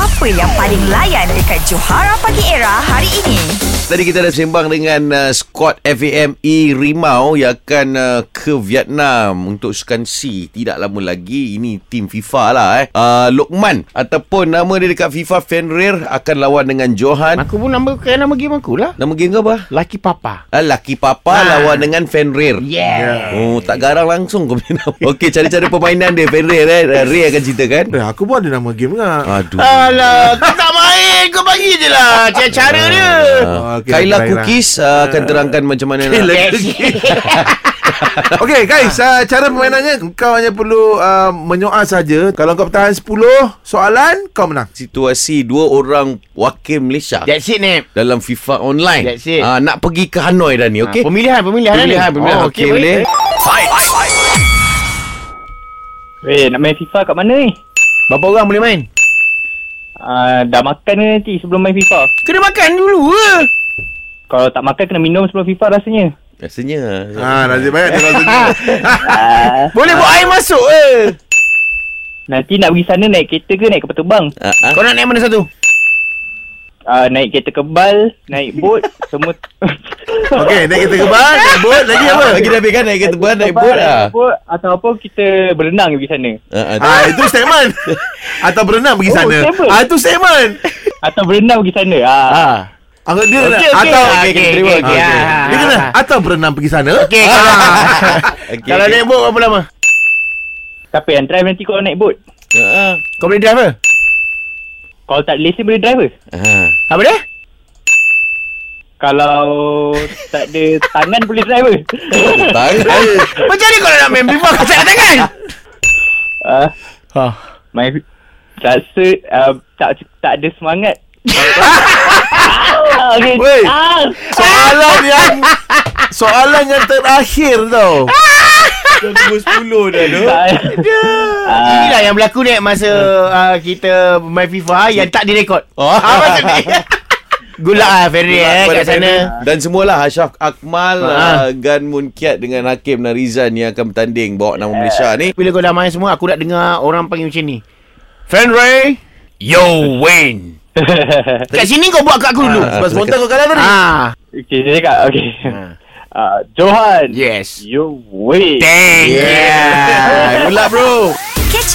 Apa yang paling layan dekat Johara Pagi Era hari ini? Tadi kita dah sembang dengan uh, Scott FAM E Rimau yang akan uh, ke Vietnam untuk Sukan C. Tidak lama lagi ini tim FIFA lah eh. Uh, Lokman ataupun nama dia dekat FIFA Fenrir akan lawan dengan Johan. Kan Aku pun nama kena nama game aku lah. Nama geng kau apa? Laki papa. Ah, Laki Papa Ah. lawan dengan Fenrir. Yeah. Oh, tak garang langsung kau punya nama. Okey, cari-cari permainan dia Fenrir eh. Uh, Ray akan ceritakan. Eh, aku pun ada nama game Ah, kan. Aduh. Alah, kau tak main. Kau bagi je lah. Cara-cara dia. Uh, okey, Kaila baiklah. Cookies uh, akan terangkan macam mana nak Okey guys, Ah. uh, cara permainannya kau hanya perlu uh, menyoal saja. Kalau kau bertahan 10 soalan, kau menang. situasi dua orang wakil Malaysia That's it, Nip. dalam FIFA online. That's it. Ah, nak pergi ke Hanoi dah ni, okey? Ah, Pemilihan, pemilihan. Pemilihan, ni. pemilihan. Oh, okey, boleh. Weh, Eh, nak main FIFA kat mana ni? Berapa orang boleh main? Uh, dah makan ke nanti sebelum main FIFA? Kena makan dulu eh. ke? Kalau tak makan, kena minum sebelum FIFA rasanya. Rasanya. Ya. ah, Ha, nasib baik dia rasa Uh, Boleh buat air masuk eh. ke? nanti nak pergi sana naik kereta ke naik kapal terbang? Ah, ah. Kau nak naik mana satu? Uh, naik kereta kebal, naik bot, semua... Okey, naik kereta kebal, naik bot, lagi apa? Ah, Lagi dah habis kan naik kereta buat naik bot naik ah. bot atau apa kita berenang pergi sana. Ah, ah. Ha, itu statement. Atau berenang pergi Oh, sana. statement. Ah, itu statement. Atau berenang pergi sana. Ah. Ah. Aku dia nak Okey, okey. atau Ah, okey, okey, kena terima, okey, okey, okey. okey. Ah, dia kena ah, ah. atau berenang pergi sana. Okey, kalau, Okey, Ah, kalau okey. naik bot berapa lama? Siapa yang drive nanti kalau naik bot? Ah, ah. Kau boleh drive eh? ke? Kalau tak ada lesen boleh drive ke? Ah. Apa dia? Kalau tak ada tangan boleh drive ke? Tangan. Macam mana kalau nak main before kau tak ada tangan? Ah, Ha. main rasa uh, tak tak ada semangat. ah, okay. Weh. Ah, Soalan yang soalan yang terakhir tau. Ah. tak- Ah, Inilah yang berlaku ni masa uh, kita main FIFA ah, yang tak direkod. Oh. Apa sedih. Gulak ah Ferry eh Pada kat sana. Fenrir. Dan semualah Ashraf Akmal Ah. ah, Gan Munkiat dengan Hakim Narizan yang akan bertanding bawa nama Malaysia ni. Bila kau dah main semua aku nak dengar orang panggil macam ni. Fenray, yo win. Kat sini kau buat kat aku dulu. Ah, Sebab aku spontan cakap- kau kalah tadi. Ah, okay, saya cakap. Okay. Ah, Johan. yes. You wait. Thank yeah. Gulak bro. Catch